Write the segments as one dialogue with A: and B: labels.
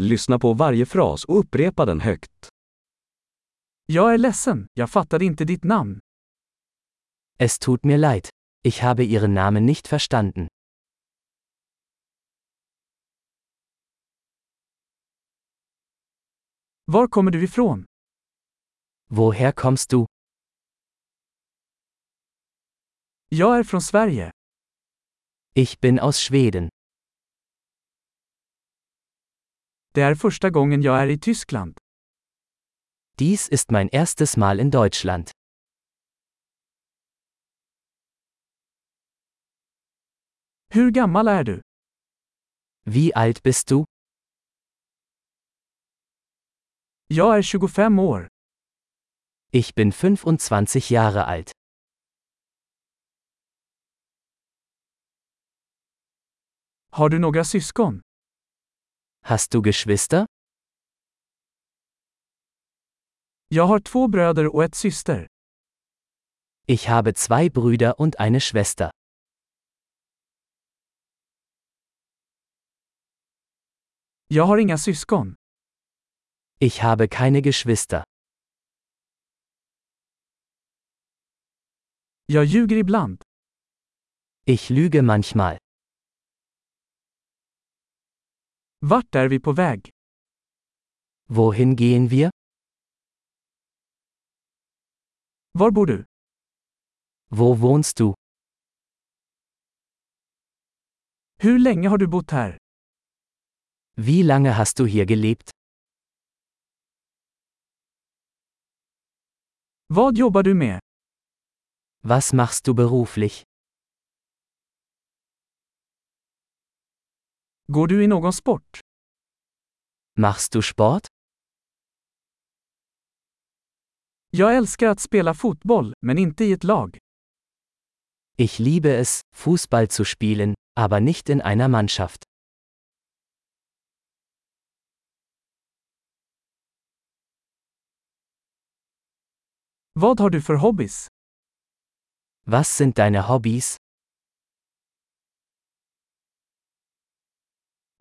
A: Lyssna på varje fras och upprepa den högt.
B: Jag är ledsen, jag fattade inte ditt namn.
C: Es tut mir leid. Ich habe Ihren Namen nicht verstanden.
B: Var kommer du ifrån?
C: Woher kommst du?
B: Jag är från Sverige.
C: Ich bin aus Schweden.
B: Det är första gången jag är i Tyskland.
C: Dies ist mein erstes Mal in Deutschland.
B: Hur gammal är du?
C: Wie alt bist du?
B: Jag är 25 år.
C: Ich bin 25 Jahre alt.
B: Har du några syskon?
C: Hast du Geschwister?
B: Jag har två bröder och ett syster.
C: Ich habe zwei Brüder und eine Schwester.
B: Jag har inga syskon.
C: Ich habe keine Geschwister.
B: Jag ljuger ibland.
C: Ich lüge manchmal.
B: Vart är vi på väg?
C: Wohin gehen wir?
B: Var bor du?
C: Wo wohnst du?
B: Hur länge har du bott här?
C: Wie lange hast du hier gelebt?
B: Vad jobbar du med?
C: Was machst du beruflich?
B: Går du i någon sport?
C: Machst du Sport?
B: Jag älskar att spela fotboll, men inte i ett lag.
C: Ich liebe es, Fußball zu spielen, aber nicht in einer Mannschaft.
B: Vad har du för hobbys?
C: Was sind deine Hobbys?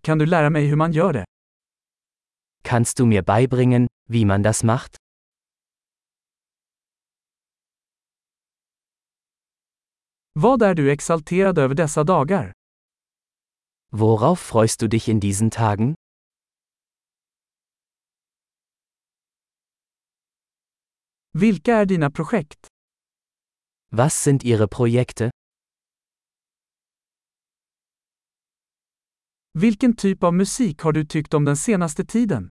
B: Kan du lära mig hur man gör det?
C: Kannst du mir beibringen, wie man das macht?
B: Vad är du exalterad över dessa dagar?
C: Worauf freust du dich in diesen Tagen?
B: Vilka är dina projekt?
C: Was sind ihre Projekte?
B: Vilken typ av musik har du tyckt om den senaste tiden?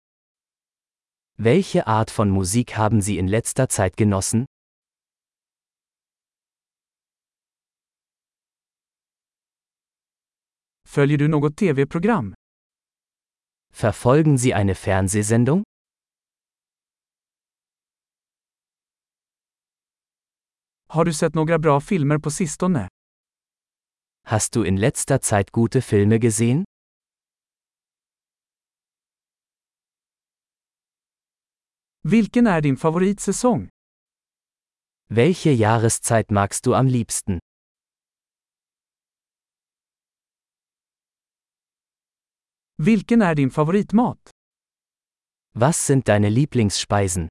C: Welche Art von Musik haben sie in letzter Zeit genossen?
B: Följer du något tv-program?
C: Verfolgen sie eine Fernsehsendung?
B: Har du sett några bra filmer på sistone?
C: Hast du in letzter Zeit gute Filme gesehen?
B: Vilken är din favoritsäsong?
C: Welche Jahreszeit magst du am liebsten?
B: Vilken är din favoritmat?
C: Was sind deine Lieblingsspeisen?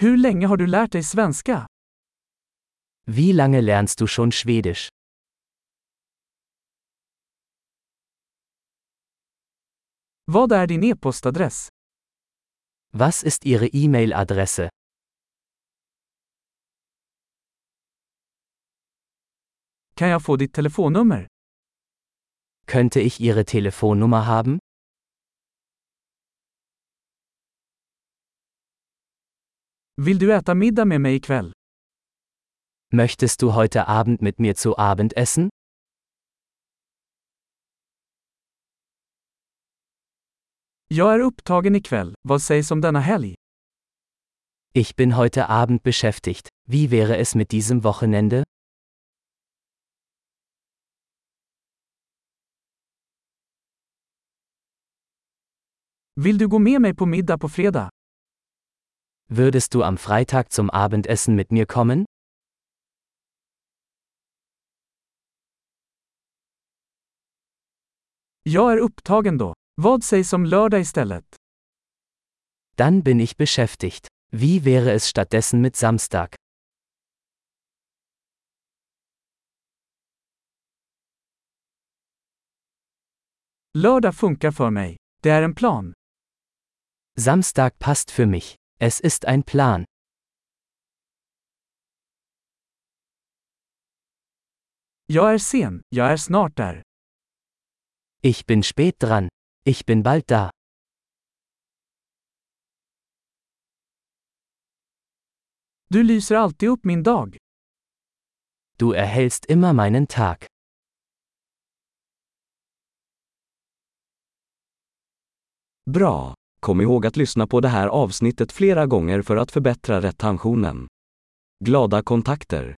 B: Hur länge har du lärt dig svenska?
C: Wie lange lernst du schon Schwedisch?
B: Vad är din e-postadress?
C: Was ist ihre E-Mail-Adresse?
B: Kan jag få ditt telefonnummer?
C: Könnte ich ihre Telefonnummer haben?
B: Vill du äta middag med mig ikväll?
C: Möchtest du heute Abend mit mir zu Abend essen?
B: Jag är upptagen ikväll, vad sägs om denna helg?
C: Ich bin heute Abend beschäftigt. Wie wäre es mit diesem Wochenende?
B: Vill du gå med mig på middag på fredag?
C: Würdest du am Freitag zum Abendessen mit mir kommen?
B: Jag är upptagen då. Vad sägs om lördag istället?
C: Dann bin ich beschäftigt. Wie wäre es stattdessen mit Samstag?
B: Lördag funkar för mig. Det är en plan.
C: Samstag passt für mich. Es ist ein Plan.
B: Jag är sen. Jag är snart där.
C: Ich bin spät dran. Ich bin bald da.
B: Du lyser alltid upp min dag.
C: Du erhellst immer meinen Tag.
A: Bra! Kom ihåg att lyssna på det här avsnittet flera gånger för att förbättra retentionen. Glada kontakter!